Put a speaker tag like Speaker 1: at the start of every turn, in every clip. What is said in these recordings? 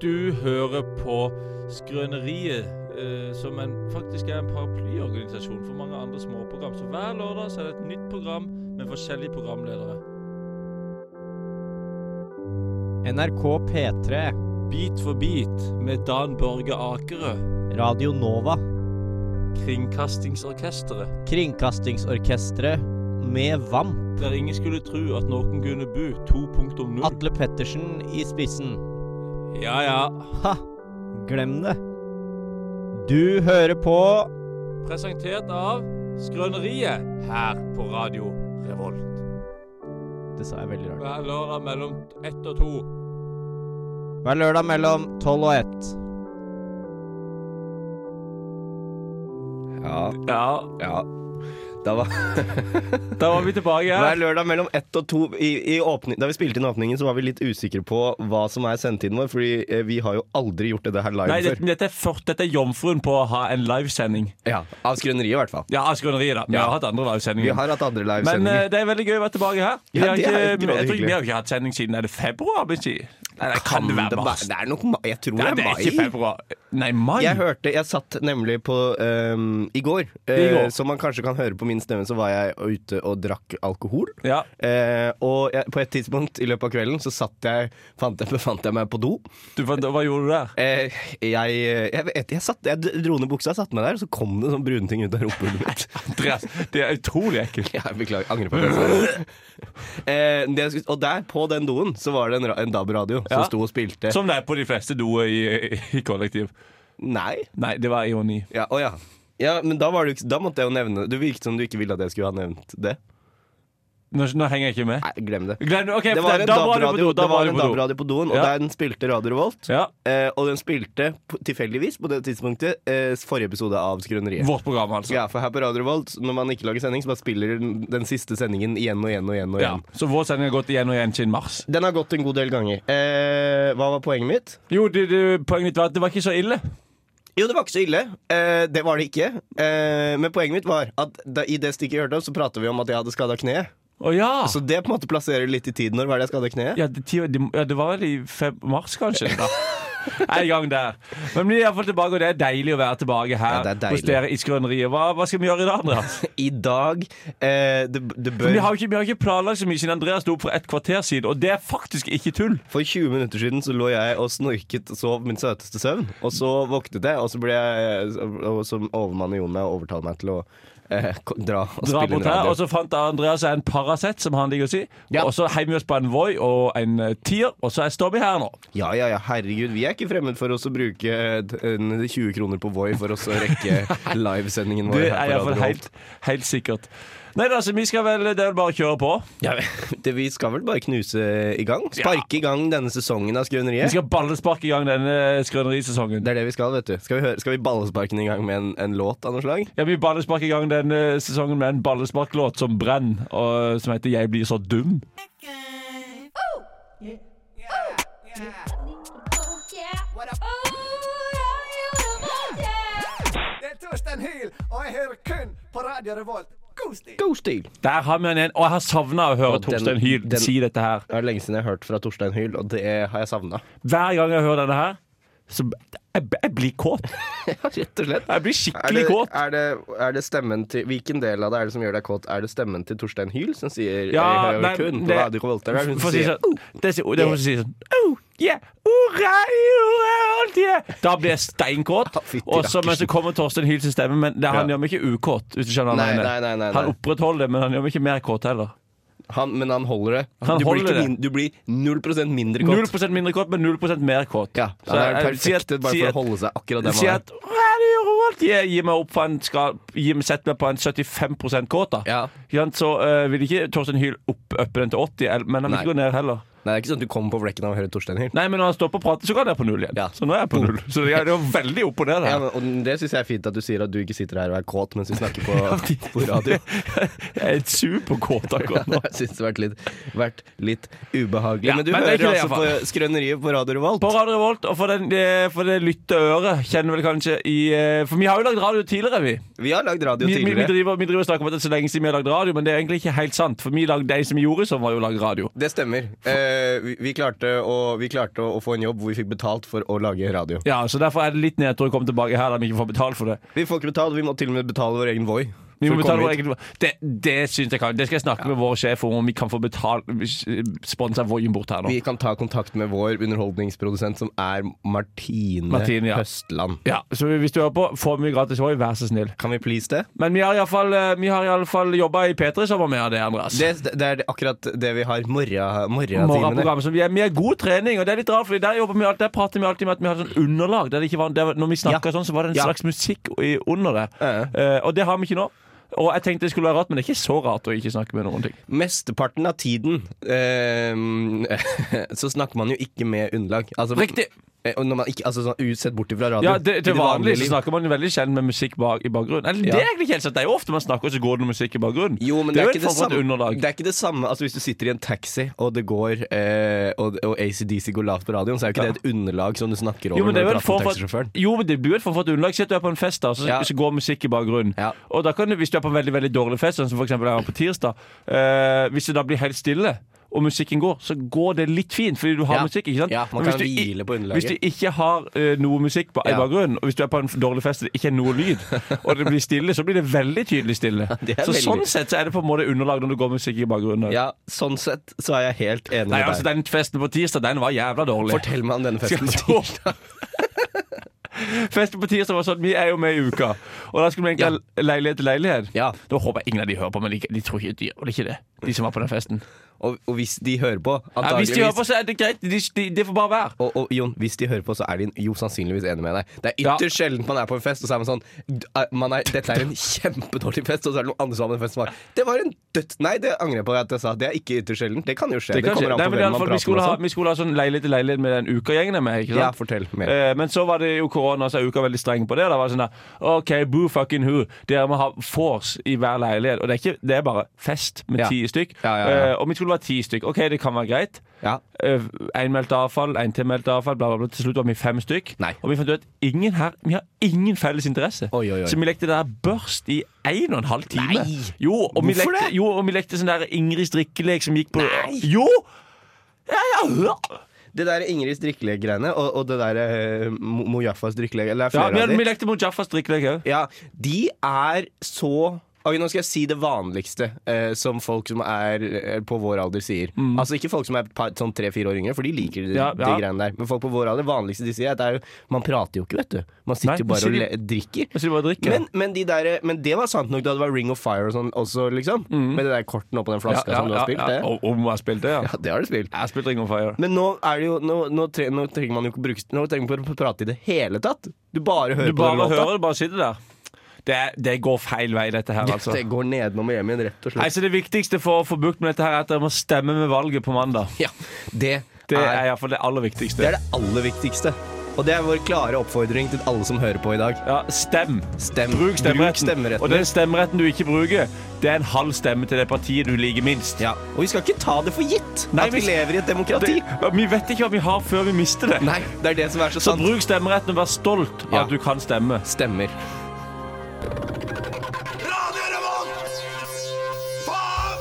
Speaker 1: Du hører på Skrøneriet, eh, som en, faktisk er en paraplyorganisasjon for mange andre småprogram. Så hver lørdag så er det et nytt program med forskjellige programledere.
Speaker 2: NRK P3,
Speaker 1: Bit for bit med Dan Børge Akerø,
Speaker 2: Radio Nova,
Speaker 1: Kringkastingsorkesteret.
Speaker 2: Kringkastingsorkestret med VAMP,
Speaker 1: Der ingen skulle tro at noen kunne bo 2.0.
Speaker 2: Atle Pettersen i spissen.
Speaker 1: Ja ja.
Speaker 2: Ha! Glem det. Du hører på
Speaker 1: Presentert av Skrøneriet her på Radio Revolt.
Speaker 2: Det sa jeg veldig rart.
Speaker 1: Hver lørdag mellom ett og to.
Speaker 2: Hver lørdag mellom 12 og 1.
Speaker 3: Ja,
Speaker 1: Ja,
Speaker 3: ja. Da var,
Speaker 1: da var vi tilbake
Speaker 3: hver
Speaker 1: her.
Speaker 3: lørdag mellom ett og to i, i åpning, Da vi spilte inn åpningen, så var vi litt usikre på hva som er sendetiden vår, fordi eh, vi har jo aldri gjort det her live
Speaker 4: Nei,
Speaker 3: før.
Speaker 4: dette, dette, er for, dette er jomfruen på å ha en livesending.
Speaker 3: Ja, Av skrøneriet, i hvert fall.
Speaker 4: Ja, av skrøneriet, da. Vi
Speaker 3: Ja.
Speaker 4: har hatt andre
Speaker 3: Vi
Speaker 4: livesendinger.
Speaker 3: har hatt andre
Speaker 4: Men eh,
Speaker 3: livesendinger.
Speaker 4: det er veldig gøy å være tilbake her. Vi har,
Speaker 3: Ja, det er
Speaker 4: ikke, jeg
Speaker 3: grådig
Speaker 4: tror, ikke- vi
Speaker 3: hyggelig.
Speaker 4: har ikke hatt sending siden Er det februar? vil jeg si? Nei, det kan det
Speaker 3: det,
Speaker 4: være
Speaker 3: ba-
Speaker 4: mars.
Speaker 3: det er nok mai. Jeg tror
Speaker 4: Nei, det
Speaker 3: det
Speaker 4: er ikke
Speaker 3: er mai.
Speaker 4: februar. Nei, mai.
Speaker 3: Jeg hørte, jeg satt nemlig på øhm, i går,
Speaker 4: I går.
Speaker 3: eh, som man kanskje kan høre på min stemme, så var jeg ute og drakk alkohol.
Speaker 4: Ja.
Speaker 3: Eh, og jeg, på et tidspunkt i løpet av kvelden så satt jeg, fant jeg, befant jeg meg på do.
Speaker 4: Du, hva, hva gjorde du der?
Speaker 3: Eh, jeg, jeg, vet- jeg, satt, jeg dro ned buksa, satte meg der, og så kom det sånn brune ting ut av rumpehullet mitt.
Speaker 4: Andreas, det er utrolig ekkelt.
Speaker 3: Jeg beklager, angrer på det. jeg sa. Eh, det jeg skulle- og der, på den doen, så var det en, ra- en DAB-radio som
Speaker 4: Ja.
Speaker 3: sto og spilte.
Speaker 4: Som det er på de fleste doer i, i kollektiv.
Speaker 3: Nei?
Speaker 4: Nei, det var ironi.
Speaker 3: Ja, å ja. Ja, men da, var det, jo ikke- da måtte jeg jo nevne det. Det virket som du ikke ville at jeg skulle ha nevnt det.
Speaker 4: Nå, nå henger jeg ikke med.
Speaker 3: Nei, glem det.
Speaker 4: Glem, ok,
Speaker 3: Det var
Speaker 4: fortell.
Speaker 3: en
Speaker 4: da var du på do.
Speaker 3: DAB-radio
Speaker 4: Da
Speaker 3: Det var
Speaker 4: var du
Speaker 3: en
Speaker 4: på do.
Speaker 3: DAB-radio på doen, og
Speaker 4: Ja.
Speaker 3: den spilte Radio Revolt.
Speaker 4: Ja,
Speaker 3: Eh, og den spilte på- tilfeldigvis på det tidspunktet eh, forrige episode av Skrøneriet.
Speaker 4: Vårt program, altså.
Speaker 3: Ja, for her på Radio Revolt, når man ikke lager sending, så bare spiller den, den siste sendingen igjen og igjen og igjen. og
Speaker 4: Ja,
Speaker 3: igjen.
Speaker 4: Så vår sending har gått igjen og igjen siden mars.
Speaker 3: Den har gått en god del ganger. Eh, hva var poenget mitt?
Speaker 4: Jo, det, det, poenget mitt var at det var ikke så ille.
Speaker 3: Jo, det var ikke så ille. Eh, det var det ikke. Eh, men poenget mitt var at da, i det stykket jeg hørte om, så prater vi om at jeg hadde skada kneet.
Speaker 4: Å ja!
Speaker 3: Så det på en måte plasserer litt i tid. Når var det jeg skada kneet?
Speaker 4: Ah. Ja det, ti- det, ja, det var vel i feb mars, kanskje. Da. En gang der. Men vi er iallfall tilbake, og det er deilig å være tilbake her
Speaker 3: Ja, det er
Speaker 4: hos
Speaker 3: deilig.
Speaker 4: dere i Skrøneriet. Hva, hva skal vi gjøre i dag, Andreas?
Speaker 3: I dag eh, det, det
Speaker 4: Vi har
Speaker 3: bør
Speaker 4: jo ikke, vi har ikke planlagt så mye siden Andreas sto opp for et kvarter siden, og det er faktisk ikke tull.
Speaker 3: For 20 minutter siden så lå jeg og snorket og sov min søteste søvn. Og så våknet jeg, og så ble jeg Og så overmannet Jon meg og overtalte meg til å eh, ko- dra
Speaker 4: Dra
Speaker 3: og spille
Speaker 4: bort
Speaker 3: en
Speaker 4: her,
Speaker 3: radio.
Speaker 4: og så fant Andreas en Paracet, som han liker å si.
Speaker 3: Ja.
Speaker 4: Og så heier vi oss på en Voi og en eh, Tier, og så er- står vi her nå.
Speaker 3: Ja, ja, ja, herregud. Vi er ikke fremmed for oss å bruke en 20 kroner på Voi for oss å rekke livesendingen vår.
Speaker 4: Det
Speaker 3: her på
Speaker 4: er iallfall
Speaker 3: Radio
Speaker 4: helt, helt sikkert. Nei da, så vi skal vel Det er vel bare å kjøre på.
Speaker 3: Revolt. Det, vi skal vel bare knuse i gang? Sparke i gang denne sesongen av
Speaker 4: Vi
Speaker 3: Skrøneriet?
Speaker 4: skal ballesparke i gang denne eh, skrønerisesongen.
Speaker 3: Det er det vi skal, vet du. Skal vi, høre, skal vi ballesparke den i gang med en, en låt av noe slag?
Speaker 4: Ja, Vi ballesparker i gang denne eh, sesongen med en ballesparklåt som brenner, og, eh, som heter 'Jeg blir så dum'.
Speaker 5: Det er Torstein Hyl, og jeg hører kun på Radio Revolt. God stil!
Speaker 3: God stil!
Speaker 4: Der har vi han igjen. Og jeg har savna å høre
Speaker 3: Og den-
Speaker 4: Torstein Hyl
Speaker 3: den-
Speaker 4: si dette her.
Speaker 3: Det er lenge siden jeg har hørt fra Torstein Hyl, og det har jeg savna.
Speaker 4: Hver gang jeg hører denne her, så jeg, jeg blir kåt.
Speaker 3: Rett og
Speaker 4: Jeg
Speaker 3: slett.
Speaker 4: blir
Speaker 3: Er det,
Speaker 4: skikkelig kåt.
Speaker 3: er, det, er det stemmen til Hvilken del av det er det som gjør deg kåt? Er det stemmen til Torstein Hyl som sier
Speaker 4: Ja,
Speaker 3: 'Jeg hører
Speaker 4: nei,
Speaker 3: kun på
Speaker 4: det-
Speaker 3: Radio Revolt'? Eller er det hun
Speaker 4: For å
Speaker 3: som
Speaker 4: si
Speaker 3: sier "Uh."
Speaker 4: sånn Det sier- det er hun som sier sånn Oh, yeah, hurra, hurra, alt det. Da blir jeg steinkåt.
Speaker 3: Ja, fytti
Speaker 4: Og så
Speaker 3: rakkeren.
Speaker 4: men så kommer Torstein Hyl sin stemme, men det, han
Speaker 3: Ja.
Speaker 4: gjør meg ikke ukåt. Hvis du skjønner hva
Speaker 3: Nei,
Speaker 4: jeg mener.
Speaker 3: nei, nei, nei, nei.
Speaker 4: Han opprettholder det, men han gjør meg ikke mer kåt heller.
Speaker 3: han, Men han holder det.
Speaker 4: Han
Speaker 3: du,
Speaker 4: holder
Speaker 3: blir ikke
Speaker 4: det.
Speaker 3: Min, du blir 0 mindre kåt.
Speaker 4: 0 mindre kåt, men 0 mer kåt.
Speaker 3: Ja,
Speaker 4: Så
Speaker 3: han er
Speaker 4: jeg- si at-
Speaker 3: perfekt bare
Speaker 4: si
Speaker 3: for
Speaker 4: at-
Speaker 3: å holde seg akkurat der
Speaker 4: Si
Speaker 3: man er.
Speaker 4: at Radio Revolt gi, gi meg opp på en skal, gi, meg- Sett meg på en 75 kåt, da.
Speaker 3: Ja.
Speaker 4: Ikke sant? Så eh, vil ikke Torstein Hyl opp, oppe den til 80, el- men han vil
Speaker 3: Nei.
Speaker 4: ikke gå ned heller.
Speaker 3: Nei, det er ikke sånn at du kommer på flekken av å høre Torstein Hyl.
Speaker 4: Nei, men når han stopper å prate, så går han ned på null igjen.
Speaker 3: Ja.
Speaker 4: Så nå er jeg på null. Så det er det er jo veldig opp og ned
Speaker 3: Ja,
Speaker 4: her.
Speaker 3: men, og det syns jeg er fint at du sier at du ikke sitter her og er kåt mens vi snakker på, på radio.
Speaker 4: Jeg er superkåt akkurat nå.
Speaker 3: Jeg syns det har vært litt, vært litt ubehagelig.
Speaker 4: Ja,
Speaker 3: men du
Speaker 4: men det er
Speaker 3: hører
Speaker 4: ikke det,
Speaker 3: altså på Skrøneriet på Radio Revolt.
Speaker 4: På Radio Revolt, og for, den, eh, for det lytte øret, kjenner vel kanskje i eh, For vi har jo lagd radio tidligere, vi.
Speaker 3: Vi har lagd radio
Speaker 4: Vi, vi, vi,
Speaker 3: tidligere.
Speaker 4: driver, vi driver og snakker om at det er så lenge siden vi har lagd radio, men det er egentlig ikke helt sant. For vi lagde de som gjorde som var jo lagd radio.
Speaker 3: Det stemmer. Eh, eh, vi, vi klarte, å, vi klarte å, å få en jobb hvor vi fikk betalt for å lage radio.
Speaker 4: Ja, så Derfor er det litt nedtur å komme tilbake her der vi ikke får betalt for det.
Speaker 3: Vi får ikke betalt, vi må til og med betale vår egen Voi.
Speaker 4: Vi
Speaker 3: for
Speaker 4: må
Speaker 3: å
Speaker 4: betale
Speaker 3: komme
Speaker 4: vår
Speaker 3: hit.
Speaker 4: egen Det, det syns jeg kan. Det skal jeg snakke med vår sjef om, om vi kan få betalt eh, sponsa Voien bort her nå.
Speaker 3: Vi kan ta kontakt med vår underholdningsprodusent, som er Martine,
Speaker 4: Martine, ja.
Speaker 3: Høstland.
Speaker 4: Ja, så hvis du hører på, få mye gratis Voi, vær så snill.
Speaker 3: Kan vi please det?
Speaker 4: Men vi har iallfall, eh, vi har i alle fall jobba i P3 i sommer med det, Andreas.
Speaker 3: Det, det er akkurat det vi har morra- morgentimene.
Speaker 4: Morgenprogram. Så vi, er, vi er god trening, og det er litt rart, for der, jobber vi alt, der prater vi alltid med at vi har et sånn underlag. Der det ikke var, der, når vi snakka
Speaker 3: Ja.
Speaker 4: sånn, så var det en
Speaker 3: Ja.
Speaker 4: slags musikk i- under det.
Speaker 3: Ja.
Speaker 4: Eh, og det har vi ikke nå. Og jeg tenkte det skulle være rart, men det er ikke så rart å ikke snakke med noen ting.
Speaker 3: Mesteparten av tiden eh, så snakker man jo ikke med underlag. Altså,
Speaker 4: Riktig!
Speaker 3: Eh, og Når man ikke, altså sånn Usett bort fra radio.
Speaker 4: Ja, det,
Speaker 3: I
Speaker 4: Til vanlig
Speaker 3: liv.
Speaker 4: så snakker man jo veldig sjelden med musikk bak, i bakgrunnen. Eller,
Speaker 3: Ja.
Speaker 4: Det er egentlig ikke helt sant. Det er jo ofte man snakker, og så går det noe musikk i bakgrunnen.
Speaker 3: jo, men det, er
Speaker 4: jo
Speaker 3: ikke det,
Speaker 4: form for et
Speaker 3: samme,
Speaker 4: underlag.
Speaker 3: det er ikke det samme Altså Hvis du sitter i en taxi, og det går eh, og, og ACDC går lavt på radioen, så er jo ikke
Speaker 4: Ja.
Speaker 3: det et underlag som du snakker over
Speaker 4: Jo, men det er
Speaker 3: når
Speaker 4: vel en
Speaker 3: du
Speaker 4: form
Speaker 3: prater med
Speaker 4: for
Speaker 3: taxisjåføren.
Speaker 4: Jo, men det blir jo et form for et underlag. Si at du er på en fest, da, så,
Speaker 3: Ja.
Speaker 4: så går musikk i bakgrunnen.
Speaker 3: Ja.
Speaker 4: Og da kan du, hvis du er på en veldig veldig dårlig fest, sånn som for eksempel jeg var på tirsdag, eh, hvis det da blir helt stille og musikken går, så går det litt fint, fordi du har
Speaker 3: Ja.
Speaker 4: musikk. ikke sant?
Speaker 3: Ja, man
Speaker 4: Men hvis
Speaker 3: kan
Speaker 4: du i-
Speaker 3: hvile på underlaget.
Speaker 4: Hvis du ikke har eh, noe musikk på, i
Speaker 3: Ja.
Speaker 4: bakgrunnen, og hvis du er på en dårlig fest og det ikke er noe lyd, og det blir stille, så blir det veldig tydelig stille.
Speaker 3: det er
Speaker 4: så
Speaker 3: veldig-
Speaker 4: Sånn sett så er det på en måte underlag når det går musikk i bakgrunnen.
Speaker 3: Ja, sånn sett så er jeg helt enig
Speaker 4: Nei,
Speaker 3: med
Speaker 4: altså
Speaker 3: deg.
Speaker 4: Den festen på tirsdag, den var jævla dårlig.
Speaker 3: Fortell meg om denne
Speaker 4: Skal
Speaker 3: festen.
Speaker 4: vi stå Festen på tirsdag var sånn Vi er jo med i uka. Og da skulle vi egentlig ha leilighet til leilighet.
Speaker 3: Ja,
Speaker 4: Da håper jeg ingen av de hører på, men de, de tror ikke de gjør vel ikke det. De som var på den festen.
Speaker 3: og, og hvis de hører på,
Speaker 4: Ja, hvis
Speaker 3: antageligvis
Speaker 4: de hører på, så er det greit. De, de, det får bare være.
Speaker 3: og, og Jon, hvis de hører på, så er de jo sannsynligvis enig med deg. Det er
Speaker 4: Ja.
Speaker 3: ytterst sjelden man er på en fest, og så er man sånn d- er- man er, 'Dette er en kjempedårlig fest', og så er det noen andre som har en fest som var 'Det var en dødt Nei, det angrer jeg på at jeg sa. Det er ikke ytterst sjelden. Det kan jo skje.
Speaker 4: Det
Speaker 3: Det,
Speaker 4: kan skje.
Speaker 3: kommer an
Speaker 4: Nei,
Speaker 3: på
Speaker 4: men i
Speaker 3: hvem
Speaker 4: alle
Speaker 3: man
Speaker 4: fall, vi,
Speaker 3: prater
Speaker 4: skulle
Speaker 3: med.
Speaker 4: ha,
Speaker 3: og sånn.
Speaker 4: vi skulle ha sånn leilighet til leilighet med den ukagjengen jeg er med. Ikke sant?
Speaker 3: Ja, fortell mer.
Speaker 4: Eh, Men så var det jo korona, så er uka veldig streng på det. Da var det sånn der, OK, boo fucking who. Dere må ha vors i hver leilighet. Og det er, ikke, det er bare fest med
Speaker 3: Ja.
Speaker 4: ti stykk.
Speaker 3: Ja, ja, ja.
Speaker 4: Eh, Og vi skulle være ti stykk. OK, det kan være greit.
Speaker 3: Ja.
Speaker 4: Én meldte Eh, avfall, én til meldte avfall, bla, bla, bla. Til slutt var vi fem stykk.
Speaker 3: Nei.
Speaker 4: Og vi fant ut at ingen her Vi har ingen felles interesse.
Speaker 3: Oi, oi, oi.
Speaker 4: Så vi lekte det der børst i en og en halv time.
Speaker 3: Nei.
Speaker 4: Jo, og vi
Speaker 3: Hvorfor
Speaker 4: lekte,
Speaker 3: det?
Speaker 4: Jo, og vi lekte sånn der Ingrids drikkelek som gikk på Nei. Jo! Ja, ja, ja.
Speaker 3: Det der Ingrids drikkelek-greiene, og, og det der eh, Mo- Mojafas drikkelek Eller det er
Speaker 4: ja
Speaker 3: flere
Speaker 4: vi,
Speaker 3: av
Speaker 4: hadde-
Speaker 3: de.
Speaker 4: vi lekte Mojafas drikkelek òg.
Speaker 3: Ja, de er så Ok, Nå skal jeg si det vanligste eh, som folk som er eh, på vår alder sier. Altså ikke folk som er et par- sånn tre-fire år yngre, for de liker de,
Speaker 4: Mm. Ja, ja.
Speaker 3: de greiene der. Men folk på vår alder, vanligste de sier, er at det er jo Man prater jo ikke, vet du. Man
Speaker 4: Nei,
Speaker 3: sitter jo bare
Speaker 4: sier
Speaker 3: og
Speaker 4: de-
Speaker 3: le drikker.
Speaker 4: Så de bare drikker.
Speaker 3: Men, men, de der, eh, men det var sant nok da det var Ring of Fire og sånn også, liksom. Med det der korten oppå den
Speaker 4: Mm. ja,
Speaker 3: flaska
Speaker 4: ja,
Speaker 3: som du
Speaker 4: ja,
Speaker 3: har spilt.
Speaker 4: ja.
Speaker 3: Det.
Speaker 4: Og- Om jeg har spilt det, ja.
Speaker 3: Ja, det har du spilt.
Speaker 4: Jeg har spilt Ring of Fire.
Speaker 3: Men nå er det jo Nå, nå, tre, nå trenger man jo ikke bruke Nå trenger man ikke prate i det hele tatt. Du bare
Speaker 4: Du
Speaker 3: hører på
Speaker 4: bare
Speaker 3: den låta.
Speaker 4: hører det, bare sitter der. Det, er- det går feil vei, dette her, altså.
Speaker 3: Det går nedenom og hjem igjen, rett og
Speaker 4: Nei,
Speaker 3: slett.
Speaker 4: så Det viktigste for å få bukt med dette her er at dere må stemme med valget på mandag.
Speaker 3: Ja, det,
Speaker 4: Det er
Speaker 3: er,
Speaker 4: i hvert fall det aller viktigste.
Speaker 3: det er det aller viktigste. Og det er vår klare oppfordring til alle som hører på i dag.
Speaker 4: Ja, Stem.
Speaker 3: Stem.
Speaker 4: Bruk stemmeretten.
Speaker 3: Bruk stemmeretten.
Speaker 4: Og den stemmeretten du ikke bruker, det er en halv stemme til det partiet du liker minst.
Speaker 3: Ja. Og vi skal ikke ta det for gitt
Speaker 4: Nei,
Speaker 3: at vi
Speaker 4: vi-
Speaker 3: lever i et demokrati.
Speaker 4: Det, vi vet ikke hva vi har før vi mister det.
Speaker 3: Nei, det er det som er så
Speaker 4: Så
Speaker 3: sant.
Speaker 4: bruk stemmeretten og vær stolt av
Speaker 3: Ja.
Speaker 4: at du kan stemme.
Speaker 3: Stemmer.
Speaker 5: Radio Revolt! Faen!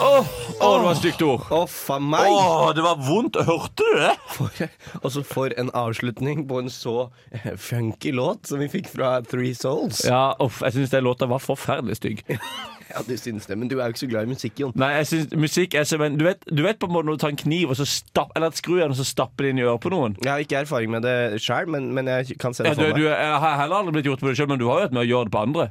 Speaker 4: Åh, åh, det var et stygt ord.
Speaker 3: Å, faen meg.
Speaker 4: Åh, det var vondt. Hørte du det?
Speaker 3: Og så for en avslutning på en så eh, funky låt som vi fikk fra Three Souls. Ja,
Speaker 4: Ja, uff, jeg syns den låta var forferdelig stygg.
Speaker 3: du syns det, men du er jo ikke så glad i musikk, Jon.
Speaker 4: Nei, jeg synes musikk er som en du vet, du vet på en måte når du tar en kniv og så stapp, eller et skrujern og så stapper det inn i øret på noen?
Speaker 3: Jeg har ikke erfaring med det sjøl, men, men jeg kan se
Speaker 4: Ja,
Speaker 3: det
Speaker 4: du,
Speaker 3: for
Speaker 4: du,
Speaker 3: meg.
Speaker 4: jeg har heller aldri blitt gjort på det sjøl, men du har jo vært med å gjøre det på andre.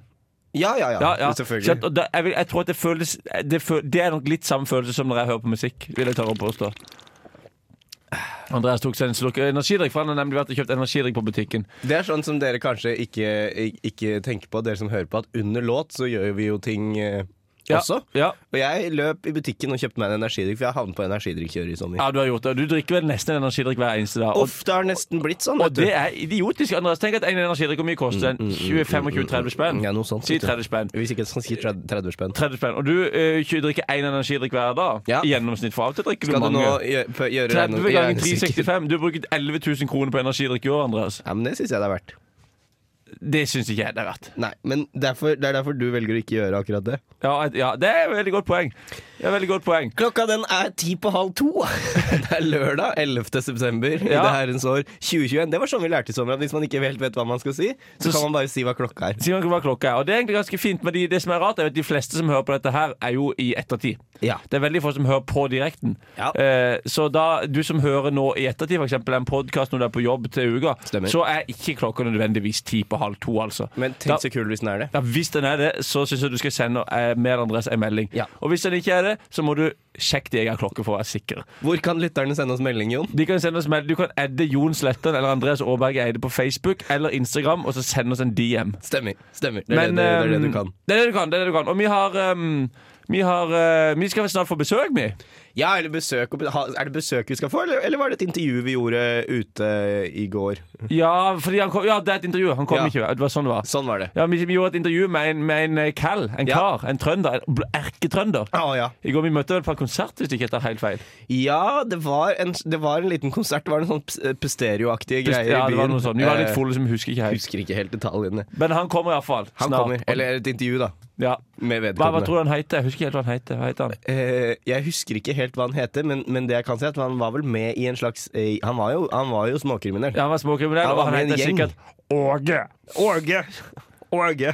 Speaker 3: Ja, ja, ja.
Speaker 4: Ja, ja. Skjønt,
Speaker 3: Selvfølgelig.
Speaker 4: og da, jeg, vil, jeg tror at det føles det, føl, det er nok litt samme følelse som når jeg hører på musikk, vil jeg tørre å påstå. Andreas tok seg en slurk energidrikk, for han har nemlig vært og kjøpt energidrikk på butikken.
Speaker 3: Det er sånn som dere kanskje ikke, ik- ikke tenker på, dere som hører på, at under låt så gjør vi jo ting eh,
Speaker 4: Ja,
Speaker 3: også.
Speaker 4: ja.
Speaker 3: Og jeg løp i butikken og kjøpte meg en energidrikk, for jeg havnet på energidrikkjøret i sommer.
Speaker 4: ja, du har gjort det. Du drikker vel nesten en energidrikk hver eneste dag. Og,
Speaker 3: Uff, det har nesten blitt sånn,
Speaker 4: og
Speaker 3: vet du.
Speaker 4: det er idiotisk, Andreas. Tenk at en energidrikk hvor mye koster
Speaker 3: Mm,
Speaker 4: den? 25-30 spenn?
Speaker 3: Ja, noe sånt,
Speaker 4: Si
Speaker 3: vet du.
Speaker 4: 30 spenn.
Speaker 3: Hvis ikke, så si 30 30 spenn.
Speaker 4: 30 spenn. Og du eh, kjø- drikker én energidrikk hver dag
Speaker 3: Ja.
Speaker 4: i gjennomsnitt, for av og til drikker du
Speaker 3: Skal du nå
Speaker 4: mange.
Speaker 3: gjø- gjøre
Speaker 4: 30
Speaker 3: regne-
Speaker 4: ganger
Speaker 3: regnestykket?
Speaker 4: 365. Du har brukt 11 000 kroner på energidrikk i år, Andreas.
Speaker 3: Ja, men det syns jeg det er verdt.
Speaker 4: Det syns ikke jeg det er verdt.
Speaker 3: Nei, men derfor, det er derfor du velger å ikke gjøre akkurat det.
Speaker 4: Ja, et, ja, det er et veldig godt poeng. Det er et veldig godt poeng.
Speaker 3: Klokka den er ti på halv to. Det er lørdag 11. september i
Speaker 4: Ja.
Speaker 3: det herrens år 2021. Det var sånn vi lærte i sommer, at hvis man ikke helt vet hva man skal si,
Speaker 4: Så
Speaker 3: så
Speaker 4: s-
Speaker 3: kan man bare si hva klokka er.
Speaker 4: Sier man ikke hva klokka er. Og det er egentlig ganske fint, men de, det som er rart, er at de fleste som hører på dette her, er jo i ettertid.
Speaker 3: Ja.
Speaker 4: Det er veldig få som hører på direkten.
Speaker 3: Ja.
Speaker 4: Eh, så da du som hører nå i ettertid, f.eks. en podkast når du er på jobb til uka,
Speaker 3: Stemmer.
Speaker 4: så er ikke klokka nødvendigvis ti på halv to, altså.
Speaker 3: Men
Speaker 4: Da-
Speaker 3: tenk så kul hvis den er det.
Speaker 4: ja, Hvis den er det, så syns jeg du skal sende eh, mer Andres en melding.
Speaker 3: Ja.
Speaker 4: Og hvis den ikke er det, så må du sjekke din egen klokke for å være sikker.
Speaker 3: Hvor kan lytterne sende oss melding, Jon?
Speaker 4: De kan sende oss meld Du kan adde Jon Slettan eller Andreas Aaberge Eide på Facebook eller Instagram, og så sende oss en DM.
Speaker 3: Stemmer. stemmer. Det, er det, det, det er det du kan.
Speaker 4: ehm, Det er det du kan. Det er det du kan. Og vi har ehm, vi, har, eh, vi skal vel snart få besøk, vi.
Speaker 3: Ja, eller besøk, og be- ha- Er det besøk vi skal få, eller, eller var det et intervju vi gjorde ute i går?
Speaker 4: Ja, fordi han kom, ja, det er et intervju. Han kom
Speaker 3: Ja.
Speaker 4: ikke. Det var sånn det var.
Speaker 3: Sånn var det.
Speaker 4: Ja, vi, vi gjorde et intervju med en, med en eh, kall, en
Speaker 3: Ja.
Speaker 4: kar, en trønder. En bl- erketrønder.
Speaker 3: Å ja.
Speaker 4: I går vi møtte vel på en konsert, hvis jeg ikke tar helt feil.
Speaker 3: Ja, det var, en, det var en liten konsert. Det var noen sånn Pusterio-aktige
Speaker 4: Ja,
Speaker 3: greier i byen.
Speaker 4: det var noe sånt. Vi var litt
Speaker 3: Eh,
Speaker 4: fulle, som husker ikke helt.
Speaker 3: Husker ikke helt detaljene.
Speaker 4: Men han kommer iallfall.
Speaker 3: Han kommer. Eller et intervju, da.
Speaker 4: ja.
Speaker 3: Med
Speaker 4: hva, hva
Speaker 3: vedkommende.
Speaker 4: tror du han heter? Jeg husker ikke helt hva han heter. Hva heter han?
Speaker 3: Eh, jeg husker ikke helt hva han heter, men, men det jeg kan si er at han var vel med i en slags eh, Han var jo, han var jo småkriminell.
Speaker 4: Ja, han var småkriminell,
Speaker 3: Han
Speaker 4: og
Speaker 3: var
Speaker 4: han
Speaker 3: med i en
Speaker 4: heter
Speaker 3: gjeng.
Speaker 4: sikkert Åge.
Speaker 3: Åge! Åge.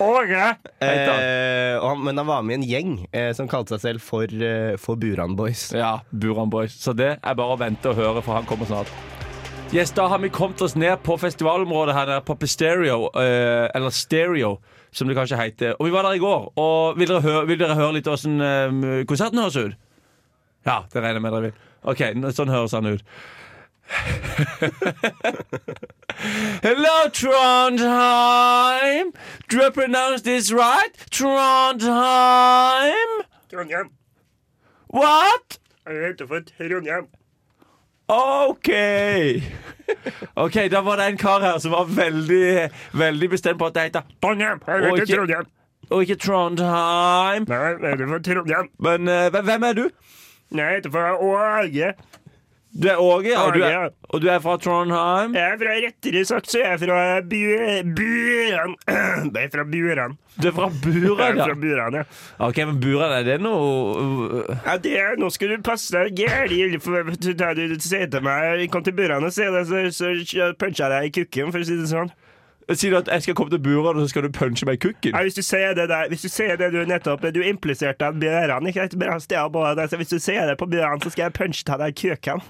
Speaker 4: Åge! Heter han.
Speaker 3: Eh, og han, men han var med i en gjeng eh, som kalte seg selv for, eh, for Buran Boys.
Speaker 4: Ja, Buran Boys. Så det er bare å vente og høre, for han kommer snart. Yes, Da har vi kommet oss ned på festivalområdet her nede på Pistereo, eh, eller Stereo, som det kanskje heter. Og vi var der i går. Og Vil dere høre, vil dere høre litt åssen eh, konserten høres ut? Ja, det regner jeg med dere vil. OK, n- sånn høres han ut. Hello, Trondheim! Do I pronounce this right? Trondheim?
Speaker 6: Trondheim.
Speaker 4: What?
Speaker 6: Jeg heter for Trondheim.
Speaker 4: OK! Ok, Da var det en kar her som var veldig Veldig bestemt på at det heter
Speaker 6: Trondheim. Jeg
Speaker 4: Og
Speaker 6: heter
Speaker 4: ikke-
Speaker 6: Trondheim.
Speaker 4: Og ikke Trondheim.
Speaker 6: Nei, jeg heter for Trondheim.
Speaker 4: Men eh, hvem- hvem er du?
Speaker 6: Nei, jeg heter for Åge.
Speaker 4: Du er Åge, og du
Speaker 6: Åge, ja.
Speaker 4: er, og du er fra Trondheim.
Speaker 6: Jeg er fra rettere sagt, så jeg er fra Bu- Buran. Jeg er fra Buran.
Speaker 4: Du er fra
Speaker 6: Jeg
Speaker 4: Buran,
Speaker 6: er
Speaker 4: ja.
Speaker 6: fra Buran, ja.
Speaker 4: Ok, men Buran, er det noe
Speaker 6: ja det er, nå skal du passe deg gæli. for du- da Du sier til meg Kom til Buran og si det, så, så puncher jeg deg i kukken, for å si det sånn.
Speaker 4: Sier du eh, at jeg skal komme til Buran, og så skal du punche meg i kukken?
Speaker 6: Ja, hvis du sier det der, hvis du sier det du nettopp Du impliserte at Buran ikke er et bra sted å bo. så Hvis du sier det på Buran, så skal jeg punche deg i kukken.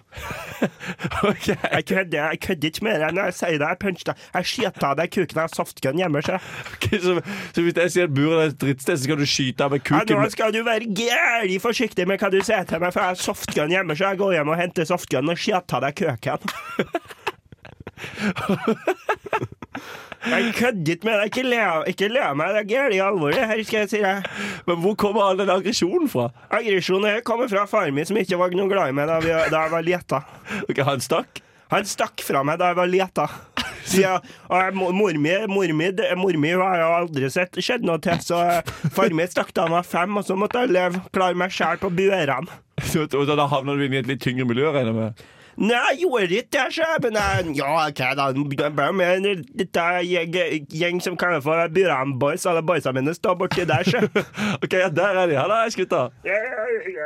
Speaker 4: Ok,
Speaker 6: Jeg kødder, jeg kødder ikke med deg når jeg sier det. Jeg puncher deg. Jeg skyter av deg kuken av softgun hjemme. Så.
Speaker 4: ok, så, så hvis jeg sier at Buran er et drittsted, så skal du skyte av meg
Speaker 6: Ja,
Speaker 4: kukken?
Speaker 6: nå skal du være gæli forsiktig med hva du sier til meg, for jeg har softgun hjemme, så jeg går hjem og henter softgun og skyter av deg kuken. Jeg kødder ikke med deg. Ikke le, ikke le av meg. Det er gæli alvor, det her, skal jeg si deg.
Speaker 4: Men hvor kommer all den aggresjonen fra?
Speaker 6: Aggresjonen her kommer fra faren min, som ikke var noe glad i meg da, vi, da jeg var lita.
Speaker 4: Ok, Han stakk?
Speaker 6: Han stakk fra meg da jeg var lita. Siden, og jeg, mo- mor mi, mor mi, det- mor mi har jeg aldri sett skjedd noe til, så eh, far min stakk da han var fem, og så måtte jeg leve klare meg sjæl på buerne.
Speaker 4: Så, og da havner du inn i et litt tyngre miljø, regner jeg med?
Speaker 6: Nei, jeg gjorde ikke det, sjø, men jeg, ja, OK, da. Jeg ble med en liten gjeng, gjeng som kaller for Buran Boys. Alle boysa mine står borti der, sjø.
Speaker 4: Ok, ja, Der er de. Hallais, gutta.
Speaker 6: Jeg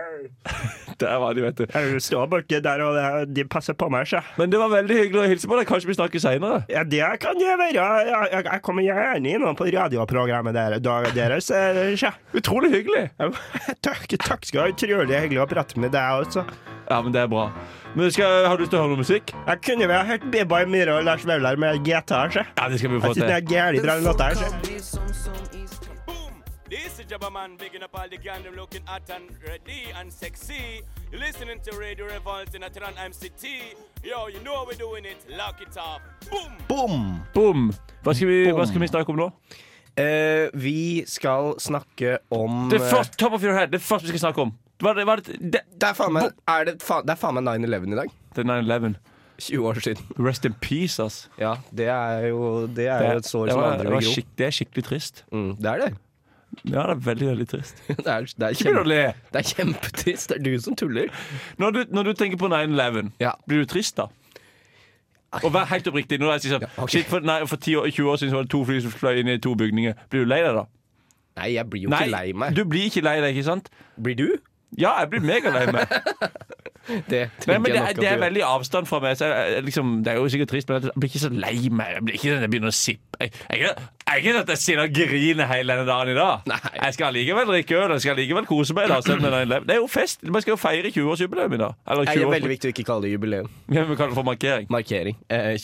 Speaker 4: Der var de, vet du.
Speaker 6: står borti der, og det- de passer på meg, sjø.
Speaker 4: Men det var veldig hyggelig å hilse på deg. Kanskje vi snakkes seinere?
Speaker 6: Ja, det kan jeg være. Jeg, jeg, jeg kommer gjerne innom på radioprogrammet der, dag- deres. eh, Sjø.
Speaker 4: Utrolig hyggelig.
Speaker 6: Takk, takk skal du ha. Utrolig hyggelig å prate med deg også.
Speaker 4: Ja, men det er bra. Men skal, Har du lyst til å høre noe musikk?
Speaker 6: Jeg kunne vel ha hørt Bibai Myhre og Lars Vaular med gitar, sjø.
Speaker 4: Ja, det skal vi få
Speaker 6: Jeg synes det
Speaker 4: til.
Speaker 6: er gæli bra låt her, sjø.
Speaker 7: This is Jabba Man bigging up all the gandom looking at and ready and sexy. You're listening to Radio Revolt in Atran MCT. Yo, you know how we're doing it. Lock it up. Boom!
Speaker 3: Boom!
Speaker 4: Boom. Hva skal, vi, hva skal vi snakke om nå?
Speaker 3: Eh, vi skal snakke om eh,
Speaker 4: Det første, top of your head, det første vi skal snakke om. Hva er det, hva er det, det,
Speaker 3: Det er faen meg, er det faen- det er faen meg 9-11 i dag.
Speaker 4: det er 9-11.
Speaker 3: 20 år siden.
Speaker 4: Rest in peace, ass.
Speaker 3: Ja, det er jo, det er jo et sår
Speaker 4: det
Speaker 3: som
Speaker 4: var-
Speaker 3: andre
Speaker 4: det var
Speaker 3: vil gro.
Speaker 4: skikk- det er skikkelig trist.
Speaker 3: Mm, det er det.
Speaker 4: Ja, det er veldig, veldig trist.
Speaker 3: Det er, det, er
Speaker 4: Ikke begynn å
Speaker 3: kjempe,
Speaker 4: le.
Speaker 3: det er kjempetrist. Det er du som tuller.
Speaker 4: Når du, når du tenker på 9-11,
Speaker 3: Ja.
Speaker 4: blir du trist da? Og vær helt oppriktig. Når jeg sier sånn, shit, for, nei, for 10 år, 20 år siden så var det to fly som fløy inn i to bygninger. Blir du lei deg da?
Speaker 3: Nei, jeg blir jo ikke lei meg.
Speaker 4: du blir ikke lei deg, ikke sant?
Speaker 3: Blir du?
Speaker 4: Ja, jeg blir megalei meg.
Speaker 3: Det
Speaker 4: Nei,
Speaker 3: tenker
Speaker 4: men det,
Speaker 3: jeg nok
Speaker 4: er- det er
Speaker 3: at du gjør.
Speaker 4: veldig avstand fra meg. Så jeg, jeg liksom, det er jo sikkert trist, men jeg blir ikke så lei meg. Jeg blir ikke sånn at jeg begynner å sippe. Jeg, jeg, jeg, jeg er ikke sånn at jeg sitter og griner hele denne dagen i dag.
Speaker 3: Nei.
Speaker 4: Jeg skal allikevel drikke øl, jeg skal allikevel kose meg. Da, selv om det, er en lei- det er jo fest. Man skal jo feire 20-årsjubileum i dag. Eller
Speaker 3: Nei, Det er
Speaker 4: 20
Speaker 3: veldig viktig å ikke kalle det jubileum.
Speaker 4: Ja, men vi kaller det for markering.
Speaker 3: Markering. Eh,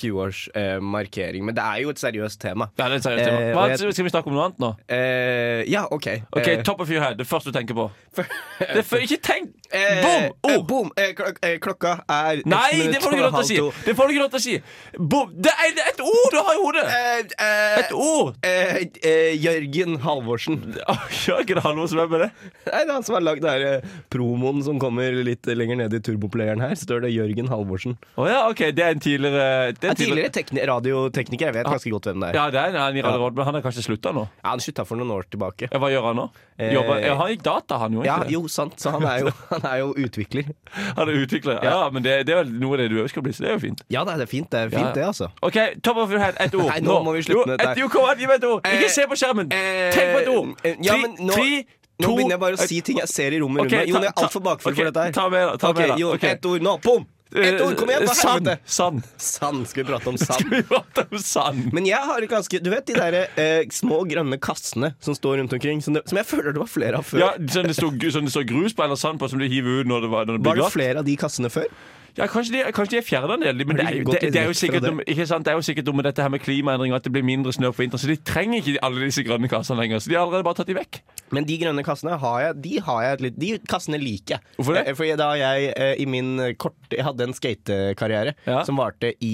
Speaker 3: 20-årsmarkering. Men det er jo et seriøst tema.
Speaker 4: Ja, det er et seriøst
Speaker 3: Eh,
Speaker 4: tema.
Speaker 3: og
Speaker 4: Hva,
Speaker 3: jeg-
Speaker 4: skal vi snakke om noe annet nå?
Speaker 3: Eh, ja, OK.
Speaker 4: Ok,
Speaker 3: Eh,
Speaker 4: Top of your head. Det første du tenker på. Det er før- ikke tenk! Bom!
Speaker 3: eh,
Speaker 4: Ord!
Speaker 3: eh, boom! Eh, klok eh, klokka er ett
Speaker 4: Oh! Nei,
Speaker 3: minutt
Speaker 4: det får du ikke lov til å
Speaker 3: og halv
Speaker 4: si!
Speaker 3: to.
Speaker 4: Det får du ikke lov til å si Bom! Det er det er et ord du har i hodet!
Speaker 3: Eh, eh,
Speaker 4: Et ord!
Speaker 3: eh, eh, Jørgen Halvorsen.
Speaker 4: Jørgen Halvorsen, hvem er det?
Speaker 3: Nei, det er han som har lagd den her, eh, promoen som kommer litt lenger ned i turboplayeren her. Står det Jørgen Halvorsen.
Speaker 4: Å ja, ok, det er en tidligere det er
Speaker 3: Ja,
Speaker 4: en tidligere-
Speaker 3: tidligere tekni- radiotekniker. Jeg vet ganske godt hvem det er.
Speaker 4: Ja, det er han i Radio Råd, men han har kanskje slutta nå?
Speaker 3: Ja, han slutta for noen år tilbake.
Speaker 4: Ja, Hva gjør han nå?
Speaker 3: Eh,
Speaker 4: Jobber, ja, han gikk data, han jo, ikke
Speaker 3: Ja,
Speaker 4: det?
Speaker 3: jo, sant. Så han er jo, han er jo utvikler.
Speaker 4: Han er utvikler. Ja, men det, det er vel noe av det du òg skal bli, så det er jo fint.
Speaker 3: Ja, det er fint, det, er
Speaker 4: Ja.
Speaker 3: fint, det altså.
Speaker 4: OK, top of your head, ett ord.
Speaker 3: Nei, nå må vi
Speaker 4: jo,
Speaker 3: slutte med
Speaker 4: et,
Speaker 3: dette.
Speaker 4: jo, kom an, gi meg et ord!
Speaker 3: Eh,
Speaker 4: Ikke se på skjermen!
Speaker 3: eh,
Speaker 4: Tenk på et ord!
Speaker 3: eh, ja, men nå-
Speaker 4: tre,
Speaker 3: Nå
Speaker 4: to
Speaker 3: begynner jeg bare å
Speaker 4: et-
Speaker 3: si ting jeg ser i rommet
Speaker 4: Ok,
Speaker 3: rundt meg. Jon, jeg er
Speaker 4: ta-
Speaker 3: altfor bakfull
Speaker 4: ok,
Speaker 3: for dette her.
Speaker 4: Ta med, da, ta
Speaker 3: Ok,
Speaker 4: med, da.
Speaker 3: Jon,
Speaker 4: Ok.
Speaker 3: ett ord nå. Pom! Ett ord, kom igjen,
Speaker 4: Eh,
Speaker 3: for helvete!
Speaker 4: Sand. sand.
Speaker 3: Sand. Skal vi prate om sand?
Speaker 4: Vi prater om sand.
Speaker 3: Men jeg har et ganske Du vet de der eh, små grønne kassene som står rundt omkring, som, det, som jeg føler det var flere av før?
Speaker 4: Ja, sånn det står sånn det står grus på eller sand på som du hiver ut når det, var- når det blir
Speaker 3: Var det
Speaker 4: glatt.
Speaker 3: flere av de kassene før?
Speaker 4: Ja, kanskje de, kanskje de er fjernet en del, men det er, jo-
Speaker 3: gått
Speaker 4: det, det er jo
Speaker 3: vekk fra
Speaker 4: sikkert
Speaker 3: det?
Speaker 4: noe med- ikke sant? Det er jo sikkert noe med dette her med klimaendringer, at det blir mindre snø på vinteren, så de trenger ikke alle disse grønne kassene lenger. Så de har allerede bare tatt de vekk.
Speaker 3: Men de grønne kassene har jeg, de har jeg et litt, de kassene liker jeg.
Speaker 4: Hvorfor det?
Speaker 3: Eh, Fordi da jeg eh, i min eh, kort, jeg hadde en skatekarriere
Speaker 4: Ja.
Speaker 3: som varte i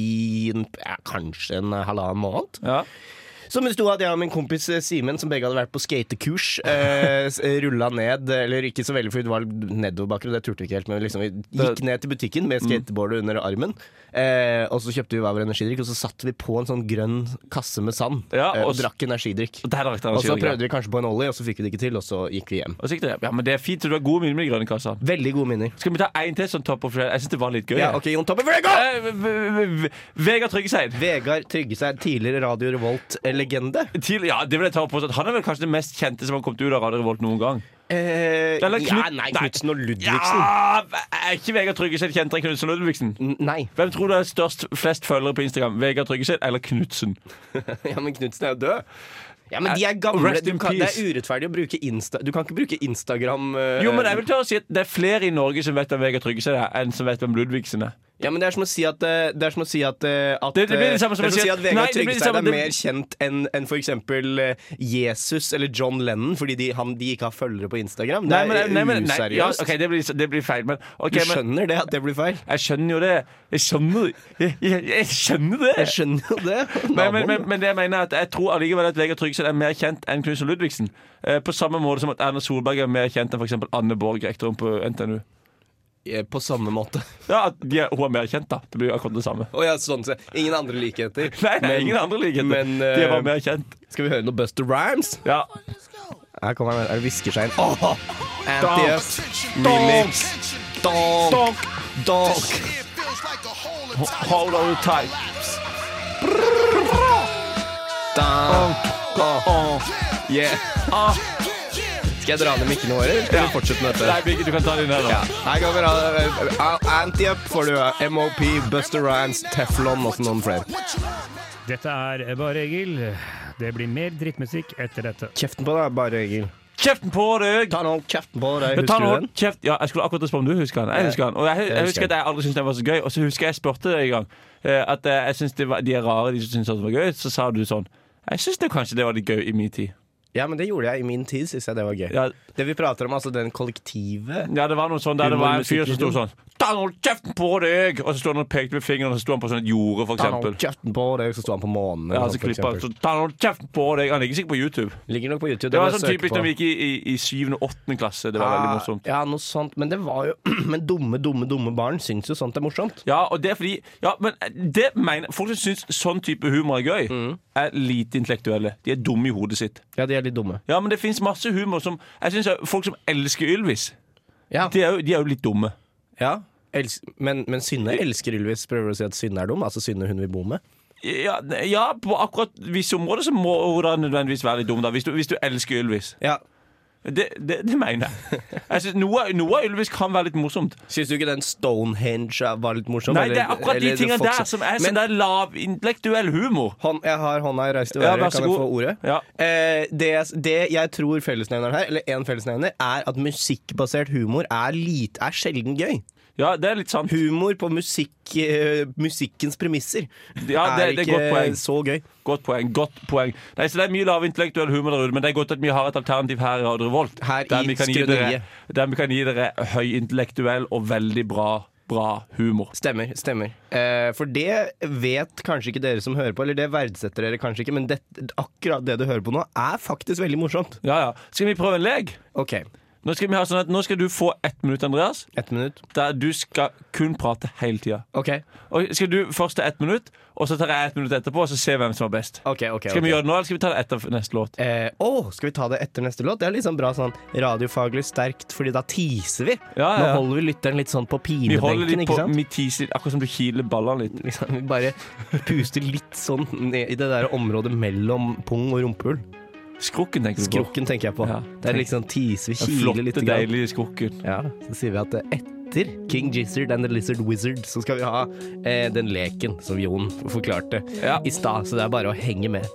Speaker 3: en, ja, kanskje en eh, halvannen måned.
Speaker 4: Ja.
Speaker 3: Som det sto at jeg og min kompis eh, Simen, som begge hadde vært på skatekurs, eh, rulla ned, eller ikke så veldig, for det var nedoverbakker, og det turte vi ikke helt, men liksom, vi gikk
Speaker 4: Det- Mm.
Speaker 3: ned til butikken med skateboardet under armen, eh, og så kjøpte vi hver vår energidrikk, og så satt vi på en sånn grønn kasse med sand,
Speaker 4: Ja,
Speaker 3: eh, og,
Speaker 4: og s-
Speaker 3: drakk energidrikk.
Speaker 4: Og der rakk dere
Speaker 3: Og så
Speaker 4: skylden, ja.
Speaker 3: prøvde vi kanskje på en ollie, og så fikk vi det ikke til, og så gikk vi hjem.
Speaker 4: Og så gikk det- Ja, men det er fint, så du har gode minner med de grønne kassene.
Speaker 3: Veldig gode minner.
Speaker 4: Skal vi ta en til sånn top of the- Jeg synes det var litt gøy.
Speaker 3: Ja,
Speaker 4: jeg.
Speaker 3: ok, Jon Toppe, før jeg går!
Speaker 4: Eh, v- v- v- Vegard Tryggeseid.
Speaker 3: Vegard Tryggeseid, tidligere Radio Revolt-legende.
Speaker 4: Til, ja, det vil jeg ta opp påstått. Han er vel kanskje den mest kjente som har kommet ut av Radio Revolt noen gang.
Speaker 3: Eh,
Speaker 4: Eller
Speaker 3: ja,
Speaker 4: Knut-
Speaker 3: nei,
Speaker 4: nei.
Speaker 3: Knutsen og Ludvigsen.
Speaker 4: Ja, er ikke Vegard Tryggeseid kjentere enn Knutsen Ludvigsen?
Speaker 3: N- Nei.
Speaker 4: Hvem tror du er størst flest følgere på Instagram? Vegard Tryggeseid eller Knutsen?
Speaker 3: Ja, men Knutsen er jo død. Ja, men de er gamle.
Speaker 4: Rest
Speaker 3: Du
Speaker 4: in
Speaker 3: kan, det
Speaker 4: peace.
Speaker 3: er urettferdig å bruke Insta... Du kan ikke bruke Instagram eh,
Speaker 4: Jo, men jeg vil tørre å si at Det er flere i Norge som vet hvem Vegard Tryggeseid er, enn som vet hvem Ludvigsen er.
Speaker 3: Ja, men det er som å si at eh, Det er som å si at, eh, at
Speaker 4: Det- det blir det samme
Speaker 3: eh,
Speaker 4: som å
Speaker 3: er
Speaker 4: si
Speaker 3: si
Speaker 4: at-
Speaker 3: at
Speaker 4: nei,
Speaker 3: Vegard
Speaker 4: det blir det
Speaker 3: Tryggeseid
Speaker 4: samme-
Speaker 3: er
Speaker 4: det-
Speaker 3: mer kjent enn enn for eksempel eh, Jesus eller John Lennon, fordi de, han, de ikke har følgere på Instagram. Det
Speaker 4: Nei,
Speaker 3: er
Speaker 4: men, nei, men, nei, ja,
Speaker 3: useriøst.
Speaker 4: ok, det, blir, det blir feil, men ok,
Speaker 3: Du
Speaker 4: men,
Speaker 3: skjønner det at det blir feil?
Speaker 4: Jeg skjønner jo det. Jeg skjønner, jeg, jeg, jeg skjønner det.
Speaker 3: Jeg skjønner jo det.
Speaker 4: Men, men,
Speaker 3: Naboen.
Speaker 4: men, men det jeg mener er at jeg tror allikevel at Vegard Tryggeseid er mer kjent enn Knutsen Ludvigsen. Eh, på samme måte som at Erna Solberg er mer kjent enn f.eks. Anne Borg, rektoren på NTNU.
Speaker 3: Eh, På samme måte.
Speaker 4: Ja, at de er, Hun er mer kjent, da. Det blir jo akkurat det samme.
Speaker 3: Å ja, sånn sett. Ingen andre likheter.
Speaker 4: Nei, nei
Speaker 3: Men-
Speaker 4: ingen andre likheter.
Speaker 3: men, eh,
Speaker 4: de er bare mer kjent.
Speaker 3: Skal vi høre noe Buster Rhymes?
Speaker 4: Ja.
Speaker 3: Her kommer han. Er det hviskeskjein? Åh! Anti-F. Remix. Donk. Donk.
Speaker 4: Hold on tight.
Speaker 3: Donk.
Speaker 4: Åh.
Speaker 3: Yeah.
Speaker 4: Ah.
Speaker 3: Skal jeg dra ned mikkene våre, eller skal vi fortsette med
Speaker 4: Nei,
Speaker 3: dette?
Speaker 4: Birgit, du kan ta den her, da.
Speaker 3: Ja. Her kommer han. Anti-F Uh, får du. eh, MOP, Buster Rhymes, Teflon og så noen flere.
Speaker 8: Dette er Bare Egil. Det blir mer drittmusikk etter dette.
Speaker 3: Kjeften på deg, bare, Egil.
Speaker 4: Kjeften på deg!
Speaker 3: Ta nå kjeften på deg.
Speaker 4: Ja, ta
Speaker 3: Husker du
Speaker 4: nå
Speaker 3: den?
Speaker 4: Kjeft. Ja, jeg skulle akkurat spørre om du husker han. Jeg husker han. Og jeg, jeg,
Speaker 3: husker
Speaker 4: husker at jeg aldri syntes den var så gøy. Og så husker jeg jeg spurte deg en gang eh, at eh, jeg synes det var, de er rare, de som syns det var gøy. Så sa du sånn Jeg syns kanskje det var litt gøy i min tid.
Speaker 3: Ja, men det gjorde jeg i min tid, syns jeg det var gøy.
Speaker 4: Ja,
Speaker 3: Det vi prater om, altså den kollektive
Speaker 4: ja det var noe sånn der det
Speaker 3: Humor,
Speaker 4: var en fyr som sto
Speaker 3: musikkvideo.
Speaker 4: sånn Ta nå kjeften på deg! Og så sto han og pekte med fingeren, og så sto han på sånn et jorde, for
Speaker 3: Ta nå
Speaker 4: eksempel.
Speaker 3: kjeften på deg, så sto han på månen.
Speaker 4: Ja,
Speaker 3: eller
Speaker 4: så
Speaker 3: sånt, for
Speaker 4: klippa han
Speaker 3: eksempel.
Speaker 4: så Ta nå kjeften på deg! Han ligger sikkert på YouTube.
Speaker 3: Ligger nok på YouTube.
Speaker 4: Det
Speaker 3: må
Speaker 4: var
Speaker 3: jeg
Speaker 4: sånn
Speaker 3: søke
Speaker 4: typisk
Speaker 3: på. Ah,
Speaker 4: når vi gikk i, i, i 7. og 8. klasse. Det var veldig morsomt.
Speaker 3: Ja, noe sånt. Men det var jo Men dumme, dumme, dumme barn syns jo sånt er morsomt.
Speaker 4: Ja, og det er fordi ja, men eh, det mener, Folk som syns sånn type humor er gøy,
Speaker 3: Mm.
Speaker 4: er lite intellektuelle. De er dumme i hodet sitt.
Speaker 3: Ja, de er litt dumme.
Speaker 4: Ja, men det fins masse humor som Jeg synes Folk som elsker Ylvis,
Speaker 3: Ja.
Speaker 4: de er, jo, de er jo litt dumme.
Speaker 3: Ja. Els men, men Synne elsker Ylvis. Prøver du å si at Synne er dum? Altså Synne hun vil bo med?
Speaker 4: Ja, ne- ja, på akkurat visse områder så må hun da nødvendigvis være litt dum, da. Hvis du, hvis du elsker Ylvis.
Speaker 3: Ja.
Speaker 4: Det, det, det mener jeg. jeg synes noe, av- noe av Ylvis kan være litt morsomt.
Speaker 3: Syns du ikke den Stonehenge var litt morsom?
Speaker 4: Nei, det er akkurat de tingene der som er sånn
Speaker 3: Men
Speaker 4: der lavintellektuell humor.
Speaker 3: hånd, jeg har hånda i reist til
Speaker 4: Ja,
Speaker 3: været.
Speaker 4: vær så
Speaker 3: kan jeg
Speaker 4: god.
Speaker 3: få ordet?
Speaker 4: Ja.
Speaker 3: Eh, det, det jeg tror fellesnevneren her, eller en fellesnevner, er at musikkbasert humor er, lite, er sjelden gøy.
Speaker 4: Ja, det er litt sånn sant.
Speaker 3: Humor på musikk, eh, musikkens premisser
Speaker 4: Ja, det- det er godt poeng.
Speaker 3: så gøy.
Speaker 4: Godt poeng. godt poeng Nei, så Det er mye lavintellektuell humor der ute, men det er godt at vi har et alternativ her i Radio Revolt.
Speaker 3: Her i
Speaker 4: der, vi kan gi dere,
Speaker 3: Skrøneriet.
Speaker 4: der vi kan gi dere høyintellektuell og veldig bra, bra humor.
Speaker 3: Stemmer. stemmer eh, For det vet kanskje ikke dere som hører på, eller det verdsetter dere kanskje ikke, men det, akkurat det du hører på nå, er faktisk veldig morsomt.
Speaker 4: Ja, ja. Skal vi prøve en lek?
Speaker 3: OK,
Speaker 4: Nå skal, vi ha sånn at, nå skal du få ett minutt, Andreas,
Speaker 3: ett minutt.
Speaker 4: der du skal kun prate hele tida.
Speaker 3: OK.
Speaker 4: Og Skal du først ta ett minutt, og så tar jeg ett minutt etterpå, og så ser vi hvem som var best.
Speaker 3: ok, ok
Speaker 4: Skal vi gjøre det nå, eller skal vi ta det etter neste låt?
Speaker 3: Eh, å, skal vi ta det etter neste låt? Det er liksom bra sånn radiofaglig sterkt, Fordi da teaser vi.
Speaker 4: Ja, ja, ja.
Speaker 3: Nå holder vi lytteren litt sånn på
Speaker 4: Vi holder
Speaker 3: pinebenken,
Speaker 4: litt på
Speaker 3: ikke sant?
Speaker 4: vi teaser, akkurat som du kiler ballene litt.
Speaker 3: Liksom, vi bare puster litt sånn ned i det der området mellom pung og rumpehull.
Speaker 4: Skrukken, tenker du på.
Speaker 3: Skrukken tenker jeg på.
Speaker 4: Ja.
Speaker 3: Det er liksom teaser, vi
Speaker 4: Den
Speaker 3: kiler litt.
Speaker 4: flotte,
Speaker 3: grann.
Speaker 4: deilige skrukken.
Speaker 3: Ja, så sier vi at eh, etter King Gizzard and The Lizard Wizard så skal vi ha eh, den leken som Jon forklarte
Speaker 4: Ja.
Speaker 3: i stad, så det er bare å henge med.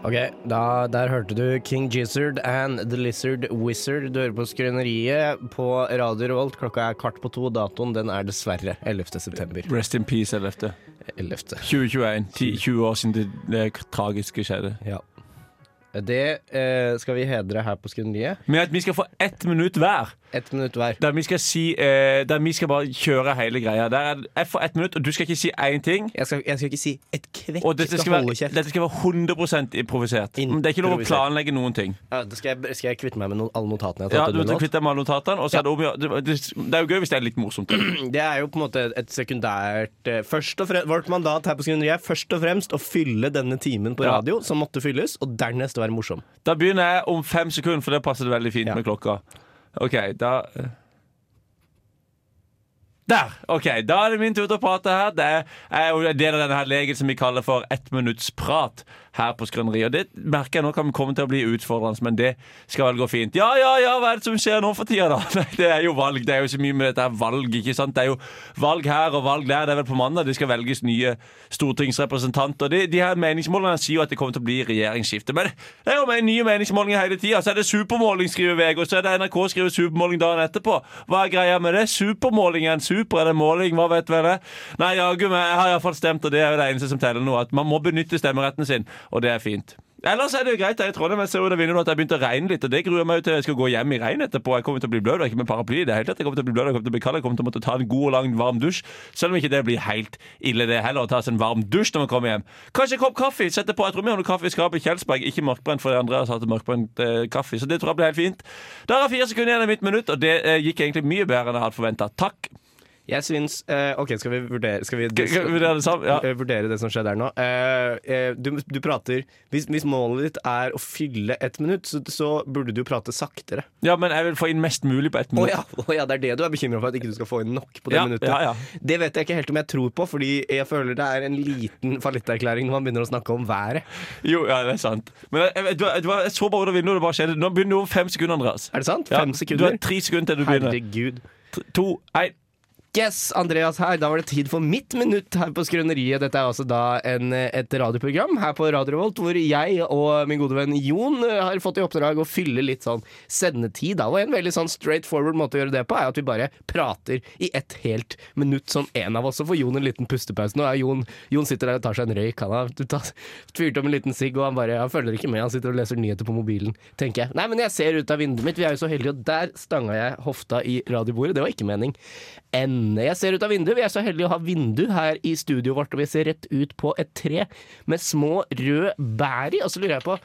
Speaker 3: Ok, da, der hørte du King Gizzard and The Lizard Wizard. Du hører på Skrøneriet på Radio Revolt. Klokka er kvart på to. Datoen den er dessverre 11. september.
Speaker 4: Rest in peace, Ellefte.
Speaker 3: 11.
Speaker 4: 2021. 10, 20 år siden det, det tragiske skjedde.
Speaker 3: Ja. Det eh, skal vi hedre her på Skrøneriet.
Speaker 4: Men at vi skal få ett minutt hver,
Speaker 3: Ett minutt hver.
Speaker 4: der vi skal si eh, Der vi skal bare kjøre hele greia. Der er, jeg får ett minutt, og du skal ikke si én ting.
Speaker 3: Jeg skal, jeg skal ikke si et kvekk.
Speaker 4: Og dette skal,
Speaker 3: holde
Speaker 4: være,
Speaker 3: kjeft.
Speaker 4: dette skal være 100 improvisert. Det er ikke lov å
Speaker 3: Improvisert.
Speaker 4: planlegge noen ting.
Speaker 3: Ja, da skal, jeg, skal jeg kvitte meg med noen, alle notatene jeg
Speaker 4: Ja,
Speaker 3: har tatt
Speaker 4: du
Speaker 3: under
Speaker 4: må
Speaker 3: nå?
Speaker 4: kvitte deg med alle notatene. Og så er det, om, å gjøre- det, det er jo gøy hvis det er litt morsomt.
Speaker 3: Det er jo på en måte et sekundært eh, først og frem, Vårt mandat her på Skrøneriet er først og fremst å fylle denne timen på
Speaker 4: Ja.
Speaker 3: radio, som måtte fylles, og dernest å være morsom.
Speaker 4: Da begynner jeg om fem sekunder, for det passer det veldig fint
Speaker 3: Ja.
Speaker 4: med klokka. OK, da Der! OK, da er det min tur til å prate her. Det er, jeg er jo en del av denne her leken som vi kaller for ettminuttsprat her på Skrøneriet. Og det merker jeg nå kan komme til å bli utfordrende, men det skal vel gå fint. Ja, ja, ja, hva er det som skjer nå for tida, da? Nei, det er jo valg. Det er jo så mye med dette her valg, ikke sant. Det er jo valg her og valg der. Det er vel på mandag det skal velges nye stortingsrepresentanter. De, de her meningsmålene sier jo at det kommer til å bli regjeringsskifte. Men det er jo med nye meningsmålinger hele tida. Så er det supermåling, skriver VG, og så er det NRK skriver supermåling dagen etterpå. Hva er greia med det? Supermåling er en super, er det måling? Hva vet vel det? Nei, jaggu meg, jeg har iallfall stemt, og det er jo det eneste som teller nå. At man må benytte stemmeretten sin, og det er fint. Ellers er det jo greit her i Trondheim. Jeg ser ut av vinduet nå at det har begynt å regne litt. Og det gruer jeg meg jo til jeg skal gå hjem i regn etterpå. Jeg kommer til å bli bløt, og ikke med paraply. i Det hele tatt. Jeg kommer til å bli bløt, jeg kommer til å bli kald, jeg kommer til å måtte ta en god og lang varm dusj. Selv om ikke det blir helt ille, det heller, å ta seg en varm dusj når man kommer hjem. Kanskje en kopp kaffe. Sette på. Jeg tror vi har noe kaffe i skapet i Kjelsberg. Ikke mørkbrent, for Andreas hadde mørkbrent eh, kaffe. Så det tror jeg blir helt fint. Der er fire sekunder igjen av mitt minutt, og det eh, gikk egentlig mye bedre enn jeg hadde forventa. Takk.
Speaker 3: Jeg syns eh, OK, skal vi vurdere Skal vi
Speaker 4: Skal- skal vi vurdere det sammen? Ja.
Speaker 3: eh, vurdere det som skjer der nå? Eh, eh, du, du prater hvis, hvis målet ditt er å fylle ett minutt, så, så burde du prate saktere.
Speaker 4: Ja, men jeg vil få inn mest mulig på ett
Speaker 3: Å
Speaker 4: minutt.
Speaker 3: ja, å ja, det er det du er bekymra for, at ikke du skal få inn nok på det
Speaker 4: Ja,
Speaker 3: minuttet.
Speaker 4: ja, ja.
Speaker 3: Det vet jeg ikke helt om jeg tror på, fordi jeg føler det er en liten fallitterklæring når man begynner å snakke om været.
Speaker 4: Jo, ja, det er sant. Men jeg, jeg, du, du, jeg så bare ut av vinduet, og det bare skjedde. Nå begynner du om fem sekunder, Andreas.
Speaker 3: Er det sant?
Speaker 4: Ja,
Speaker 3: Fem
Speaker 4: Du
Speaker 3: sekunder?
Speaker 4: har tre sekunder til du begynner.
Speaker 3: Herregud.
Speaker 4: T- To, én.
Speaker 3: Yes, Andreas her. Da var det tid for mitt minutt her på Skrøneriet. Dette er altså da en, et radioprogram her på Radio Revolt, hvor jeg og min gode venn Jon eh, har fått i oppdrag å fylle litt sånn sendetid. Da. Og en veldig sånn straight forward måte å gjøre det på, er at vi bare prater i ett helt minutt, sånn en av oss. Så får Jon en liten pustepause. Nå er Jon, Jon sitter der og tar seg en røyk. Han har tatt- fyrt om en liten sigg, og han bare han følger ikke med. Han sitter og leser nyheter på mobilen, tenker jeg. Nei, men jeg ser ut av vinduet mitt, vi er jo så heldige, og der stanga jeg hofta i radiobordet. Det var ikke mening enn jeg ser ut av vinduet. Vi er så heldige å ha vindu her i studioet vårt, og vi ser rett ut på et tre med små røde bær i. Og så lurer jeg på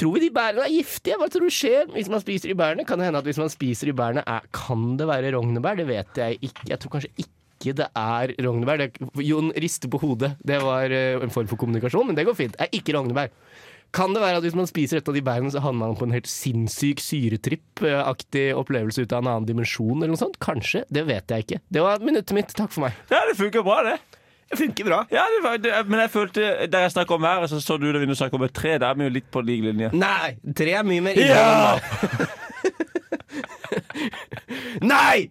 Speaker 3: Tror vi de bærene er giftige? Hva tror du skjer hvis man spiser de bærene? Kan det hende at hvis man spiser de bærene, er, kan det være rognebær? Det vet jeg ikke. Jeg tror kanskje ikke det er rognebær. Det, Jon rister på hodet. Det var eh, en form for kommunikasjon, men det går fint. Det er ikke rognebær.
Speaker 2: Kan det være at hvis man spiser et av de bærene, så havner man på en helt sinnssyk syretripp-aktig opplevelse ut av en annen dimensjon eller noe sånt? Kanskje. Det vet jeg ikke. Det var minuttet mitt. Takk for meg.
Speaker 4: Ja, det funker bra, det.
Speaker 2: Det funker bra.
Speaker 4: Ja, det var, det, men jeg følte Der jeg snakker om været, så så du det vi snakker om et tre. Der er vi jo litt på lik linje.
Speaker 2: Nei! Tre er mye mer innhold enn meg.
Speaker 4: Nei!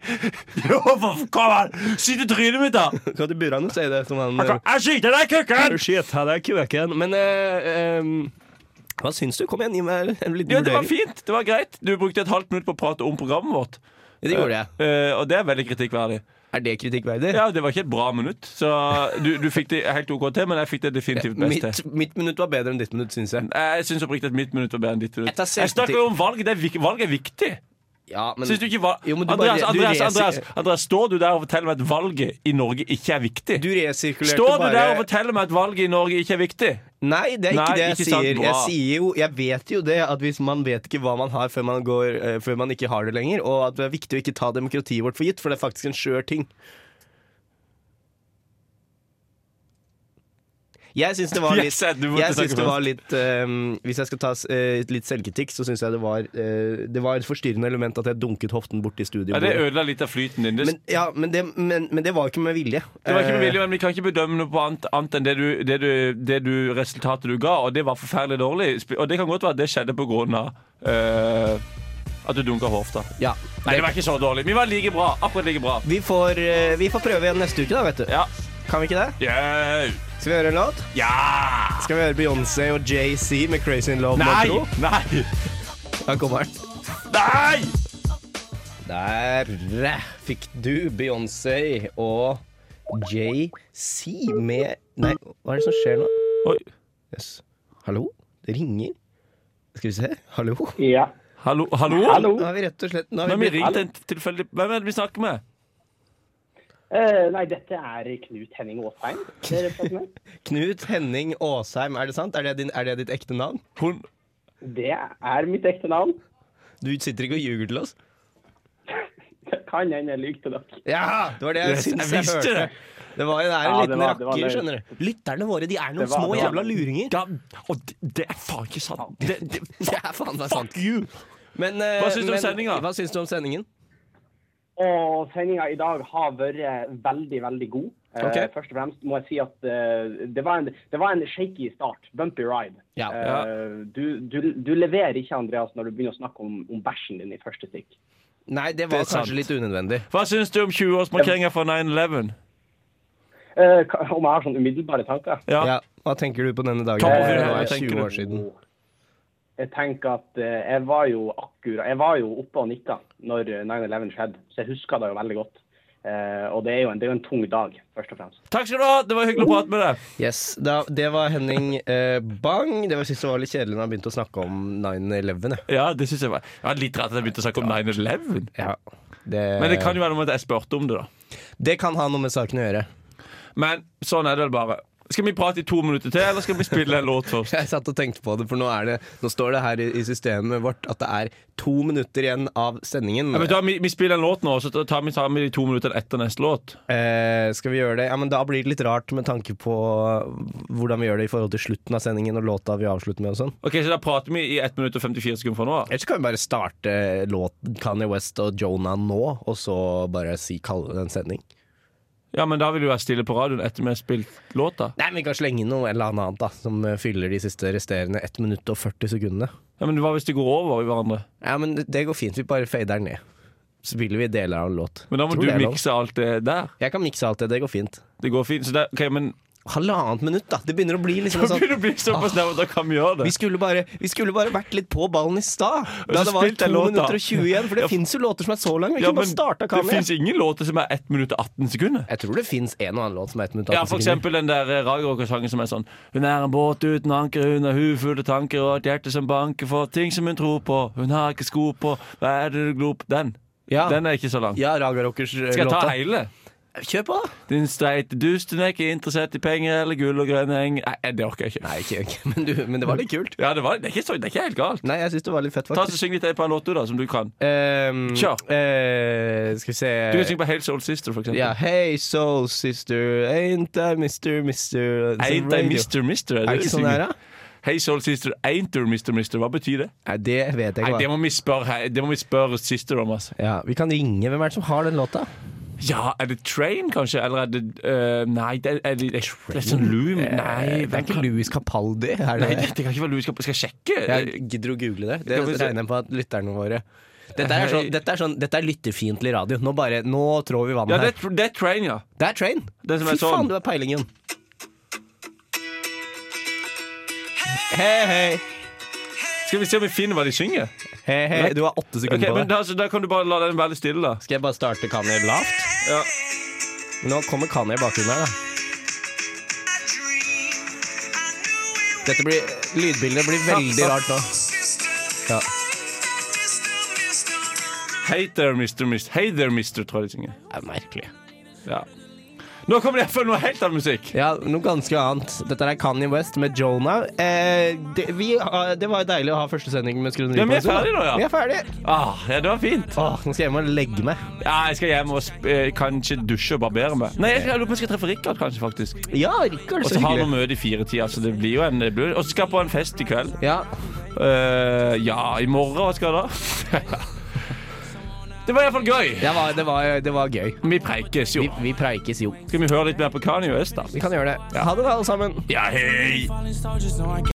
Speaker 4: Jo, for faen! Skyt i trynet mitt, da!
Speaker 2: Kan du Buran si det som han
Speaker 4: Jeg skyter deg, kukken!
Speaker 2: Shit, her er kuken. Men eh, eh, hva syns du? Kom igjen, gi meg en liten
Speaker 4: Ja, det var
Speaker 2: vurdering.
Speaker 4: fint. Det var greit. Du brukte et halvt minutt på å prate om programmet vårt.
Speaker 2: Det gjorde jeg.
Speaker 4: Eh, og det er veldig kritikkverdig.
Speaker 2: Er det kritikkverdig?
Speaker 4: Ja, Det var ikke et bra minutt, så du, du fikk det helt OK til, men jeg fikk det definitivt best
Speaker 2: mitt,
Speaker 4: til.
Speaker 2: mitt minutt var bedre enn ditt minutt, syns jeg.
Speaker 4: Jeg syns oppriktig at mitt minutt var bedre enn ditt minutt.
Speaker 2: Jeg tar selv-
Speaker 4: Jeg snakker jo om valg. Det er, vik- valg er viktig.
Speaker 2: Ja, men,
Speaker 4: Syns du ikke valg
Speaker 2: Jo, men du bare-
Speaker 4: Andreas,
Speaker 2: du
Speaker 4: Andreas,
Speaker 2: resi-
Speaker 4: Andreas, Andreas, står du der og forteller meg at valget i Norge ikke er viktig?
Speaker 2: Du resirkulerte
Speaker 4: Står du
Speaker 2: bare
Speaker 4: der og forteller meg at valget i Norge ikke er viktig?
Speaker 2: Nei, det er ikke
Speaker 4: Nei,
Speaker 2: det jeg
Speaker 4: ikke sant,
Speaker 2: sier.
Speaker 4: bra.
Speaker 2: Jeg sier jo Jeg vet jo det at hvis man vet ikke hva man har før man, går, eh, før man ikke har det lenger, og at det er viktig å ikke ta demokratiet vårt for gitt, for det er faktisk en skjør ting. Jeg syns det var litt,
Speaker 4: Yes, du måtte
Speaker 2: jeg synes
Speaker 4: snakke
Speaker 2: det var
Speaker 4: først.
Speaker 2: litt eh, Hvis jeg skal ta eh, litt selvkritikk, så syns jeg det var, eh, det var et forstyrrende element at jeg dunket hoften borti studioet.
Speaker 4: Ja, det ødela litt av flyten din. Det,
Speaker 2: men, eh, ja, men, det, men, men det var jo ikke med vilje.
Speaker 4: det var ikke med vilje, men Vi kan ikke bedømme noe på annet, annet enn det, du, det, du, det du, resultatet du ga, og det var forferdelig dårlig. Sp- Og det kan godt være at det skjedde på grunn av eh, at du dunka hofta.
Speaker 2: Eh, ja,
Speaker 4: Nei, det var ikke så dårlig. Vi var like bra. Akkurat like bra.
Speaker 2: vi, får, eh, vi får prøve igjen neste uke, da, vet du.
Speaker 4: Ja.
Speaker 2: Kan vi ikke det?
Speaker 4: Yeah.
Speaker 2: Skal vi høre en låt?
Speaker 4: ja.
Speaker 2: Skal vi høre Beyoncé og JC med Crazy in Love?
Speaker 4: Nei!
Speaker 2: Montro?
Speaker 4: Nei!
Speaker 2: Da kommer den.
Speaker 4: Nei!
Speaker 2: Der eh, fikk du Beyoncé og JC med Nei, hva er det som skjer nå?
Speaker 4: Oi.
Speaker 2: Jøss. Hallo? Det ringer. Skal vi se. Hallo?
Speaker 4: Hallo? Hallo?
Speaker 9: Hallo.
Speaker 2: Nå har vi rett og slett Nå
Speaker 4: Nå
Speaker 2: har
Speaker 4: har
Speaker 2: vi
Speaker 4: vi
Speaker 2: blitt
Speaker 4: ringt en tilfeldig Hvem er det vi snakker med?
Speaker 9: Eh, nei, dette er Knut Henning Aasheim. dere er prater med.
Speaker 2: Knut Henning Aasheim, er det sant? Er det, din, er det ditt ekte navn?
Speaker 4: Hun
Speaker 9: Det er mitt ekte navn.
Speaker 2: Du sitter ikke og ljuger til oss?
Speaker 9: Det Kan hende jeg lyver til dere.
Speaker 2: Ja! Det var det jeg
Speaker 4: Yes, jeg
Speaker 2: syntes jeg,
Speaker 4: visste
Speaker 2: hørte.
Speaker 4: det.
Speaker 2: Det var, det er en
Speaker 9: Ja, det
Speaker 2: liten
Speaker 9: var- det var
Speaker 2: rakker,
Speaker 9: det.
Speaker 2: skjønner du. Lytterne våre de er noen
Speaker 9: Det var-
Speaker 2: små
Speaker 9: det var-
Speaker 2: jævla luringer.
Speaker 4: ja, Og det, det er faen ikke sant. Det, det,
Speaker 2: Det er faen meg sant. You. Men, eh,
Speaker 4: Hva syns du om
Speaker 2: men-
Speaker 4: sendinga?
Speaker 2: Hva syns du om sendingen?
Speaker 9: Og sendinga i dag har vært veldig, veldig god. Eh,
Speaker 2: Ok.
Speaker 9: Først og fremst må jeg si at eh, det, var en, det var en shaky start. Bumpy ride.
Speaker 2: Ja.
Speaker 9: Eh, du, du, du leverer ikke, Andreas, når du begynner å snakke om, om bæsjen din i første stikk.
Speaker 2: Nei, det var
Speaker 4: Det er sant.
Speaker 2: kanskje litt unødvendig.
Speaker 4: hva syns du om 20-årsmarkeringa fra 9-11?
Speaker 9: Eh, ka- om jeg har sånne umiddelbare tanker?
Speaker 4: Ja.
Speaker 2: Ja, Hva tenker du på denne dagen?
Speaker 4: Tom,
Speaker 2: det
Speaker 4: hva
Speaker 2: var
Speaker 4: tenker
Speaker 2: 20
Speaker 4: du?
Speaker 2: år siden.
Speaker 9: Oh, Jeg tenker at eh, jeg var jo akkurat Jeg var jo oppe og nikka når eh, 9-11 skjedde, så jeg husker det jo veldig godt. Eh, og det er, jo en, det er jo en tung dag, først og fremst.
Speaker 4: Takk skal du ha! Det var hyggelig å prate med deg.
Speaker 2: Yes, da, Det var Henning eh, Bang. Det var sist det var litt kjedelig når han begynte å snakke om 9-11. ja.
Speaker 4: Ja, det synes jeg var Jeg var litt rart at jeg begynte å snakke om 9-11.
Speaker 2: Ja. Det,
Speaker 4: Men det kan jo være noe med at jeg spurte om det, da.
Speaker 2: det kan ha noe med saken å gjøre.
Speaker 4: Men sånn er det vel bare. Skal vi prate i to minutter til, eller skal vi spille en låt først?
Speaker 2: Jeg satt og tenkte på det, for nå, er det, nå står det her i, i systemet vårt at det er to minutter igjen av sendingen.
Speaker 4: Ja, men da, vi, vi spiller en låt nå, så tar vi, tar vi de to minuttene etter neste låt.
Speaker 2: Eh, skal vi gjøre det? Ja, men Da blir det litt rart med tanke på eh, hvordan vi gjør det i forhold til slutten av sendingen og låta vi avslutter med og sånn.
Speaker 4: Ok, Så da prater vi i 1 minutt og 54 sekunder fra nå. av.
Speaker 2: Eller så kan vi bare starte låten Kanye West og Jonah nå, og så bare si, kalle det en sending.
Speaker 4: Ja, men da vil du være stille på radioen etter vi har spilt låta.
Speaker 2: Nei, men Vi kan slenge inn noe eller annet da som eh, fyller de siste resterende 1 minutt og 40 sekundene.
Speaker 4: Ja, Men hva hvis de går over i hverandre?
Speaker 2: Ja, men det- Det går fint. Vi bare fader den ned. Så spiller vi deler av en låt.
Speaker 4: Men da må
Speaker 2: Tror
Speaker 4: du
Speaker 2: det er lov.
Speaker 4: mikse alt det der.
Speaker 2: Jeg kan mikse alt det. Det går fint.
Speaker 4: Det går fint. Så det, ok, men
Speaker 2: Halvannet minutt, da. Det begynner å bli liksom
Speaker 4: da
Speaker 2: en sånn
Speaker 4: begynner det å bli såpass nær at da kan vi gjøre
Speaker 2: Vi
Speaker 4: det.
Speaker 2: skulle, bare, vi skulle bare vært litt på ballen i stad. Da
Speaker 4: så
Speaker 2: det var
Speaker 4: spilte
Speaker 2: 2
Speaker 4: jeg låta.
Speaker 2: minutter og 20 igjen. For det
Speaker 4: Ja.
Speaker 2: fins jo låter som er så lange. Vi
Speaker 4: Ja,
Speaker 2: kunne bare
Speaker 4: men
Speaker 2: starta
Speaker 4: det
Speaker 2: kameraet.
Speaker 4: fins ingen låter som er 1 minutt og 18 sekunder.
Speaker 2: Jeg tror det fins en og annen låt som er 1 minutt og
Speaker 4: Ja,
Speaker 2: 18
Speaker 4: for
Speaker 2: sekunder.
Speaker 4: eksempel den der eh, ragerockersangen som er sånn Hun er en båt uten anker, hun har hud full av tanker og et hjerte som banker for ting som hun tror på. Hun har ikke sko på, hva er det du glor på? Den.
Speaker 2: Ja.
Speaker 4: Den er ikke så lang.
Speaker 2: Ja, Raga Rockers eh,
Speaker 4: Skal jeg ta
Speaker 2: låta.
Speaker 4: hele?
Speaker 2: Kjør på, da.
Speaker 4: Din streite dust, hun er ikke interessert i penger eller gull og grønne eng. Nei, det orker jeg ikke.
Speaker 2: Nei, ikke, ikke. Men, du, men det var litt kult.
Speaker 4: Ja, det, var, det, er ikke så, det er ikke helt galt.
Speaker 2: Nei, jeg syns det var litt fett,
Speaker 4: Ta så
Speaker 2: faktisk.
Speaker 4: Syng litt på en låt du, da, som du kan.
Speaker 2: Ehm,
Speaker 4: Kjør.
Speaker 2: eh, skal vi se
Speaker 4: Du kan synge på Hales Old Sister, for eksempel.
Speaker 2: Ja, Hey Soul Sister, ain't I Mister Mister
Speaker 4: Ain't I Mr. Mister?
Speaker 2: Altså, Er det
Speaker 4: du
Speaker 2: ikke sånn
Speaker 4: synger?
Speaker 2: det er, da?
Speaker 4: Hey Soul Sister, ain't there Mr. Mister? Hva betyr det?
Speaker 2: Nei, det vet jeg
Speaker 4: Nei,
Speaker 2: ikke.
Speaker 4: det,
Speaker 2: hva-
Speaker 4: må vi spørre, he- det må vi spørre sister om, altså.
Speaker 2: Ja, vi kan ringe. Hvem er det som har den låta?
Speaker 4: Ja, er det Train, kanskje? Eller er det eh, Nei, det er, er det, det er sånn Loom.
Speaker 2: Eh,
Speaker 4: Nei,
Speaker 2: det er ikke Louis Capaldi. Er
Speaker 4: Nei,
Speaker 2: det?
Speaker 4: det, det kan ikke være Loom. Skal, skal jeg sjekke?
Speaker 2: Jeg gidder å google det. Det
Speaker 4: Kan vi se-
Speaker 2: regner jeg på at lytterne våre dette er, sånn, dette, er sånn, dette er lytterfiendtlig radio. Nå, bare, nå trår vi vannet
Speaker 4: Ja, det,
Speaker 2: her.
Speaker 4: er- det er Train, ja.
Speaker 2: Det er Train!
Speaker 4: Det som er
Speaker 2: Fy
Speaker 4: sånn.
Speaker 2: faen, du er peilingen. Hei, hei.
Speaker 4: Skal vi se om vi finner hva de synger?
Speaker 2: Hei, hei. Du har åtte
Speaker 4: Ok,
Speaker 2: sekunder på
Speaker 4: men
Speaker 2: deg.
Speaker 4: da, så da kan du bare la den være litt stille, da.
Speaker 2: Skal jeg bare starte Kanye lavt?
Speaker 4: Ja.
Speaker 2: Nå kommer Kanye i bakgrunnen her, da. Dette blir, lydbildet blir veldig rart nå. Ja.
Speaker 4: Hey there, Mr. Mist. Hey there, Mister, tror jeg de synger.
Speaker 2: Det er merkelig.
Speaker 4: Ja. Nå kommer det iallfall noe helt annen musikk.
Speaker 2: Ja, noe ganske annet. Dette er Kanye West med Jonah. Eh, det, vi, har- det var jo deilig å ha første sending med Skrøneriet.
Speaker 4: Ja, men vi er ferdig nå, ja.
Speaker 2: Vi er ferdig.
Speaker 4: Ah, ja, det var fint.
Speaker 2: Åh, nå skal jeg hjem og legge meg.
Speaker 4: Ja, jeg skal hjem og sp eh, kanskje dusje og barbere meg. Nei, jeg, skal- jeg lurer på om jeg skal treffe Rikard, kanskje, faktisk.
Speaker 2: Ja, Rikard,
Speaker 4: Og
Speaker 2: så
Speaker 4: så har vi
Speaker 2: hyggelig.
Speaker 4: møte i firetida, så det blir jo en det blir- Og så skal jeg på en fest i kveld.
Speaker 2: Ja,
Speaker 4: Eh, ja, i morgen. Hva skal jeg da? det var iallfall gøy.
Speaker 2: det var, det var, det var gøy.
Speaker 4: Vi preikes jo.
Speaker 2: Vi, vi preikes jo.
Speaker 4: Skal vi høre litt mer på Kanye West, da?
Speaker 2: Vi kan gjøre det. Ha det, da, alle sammen.
Speaker 4: Ja, hei!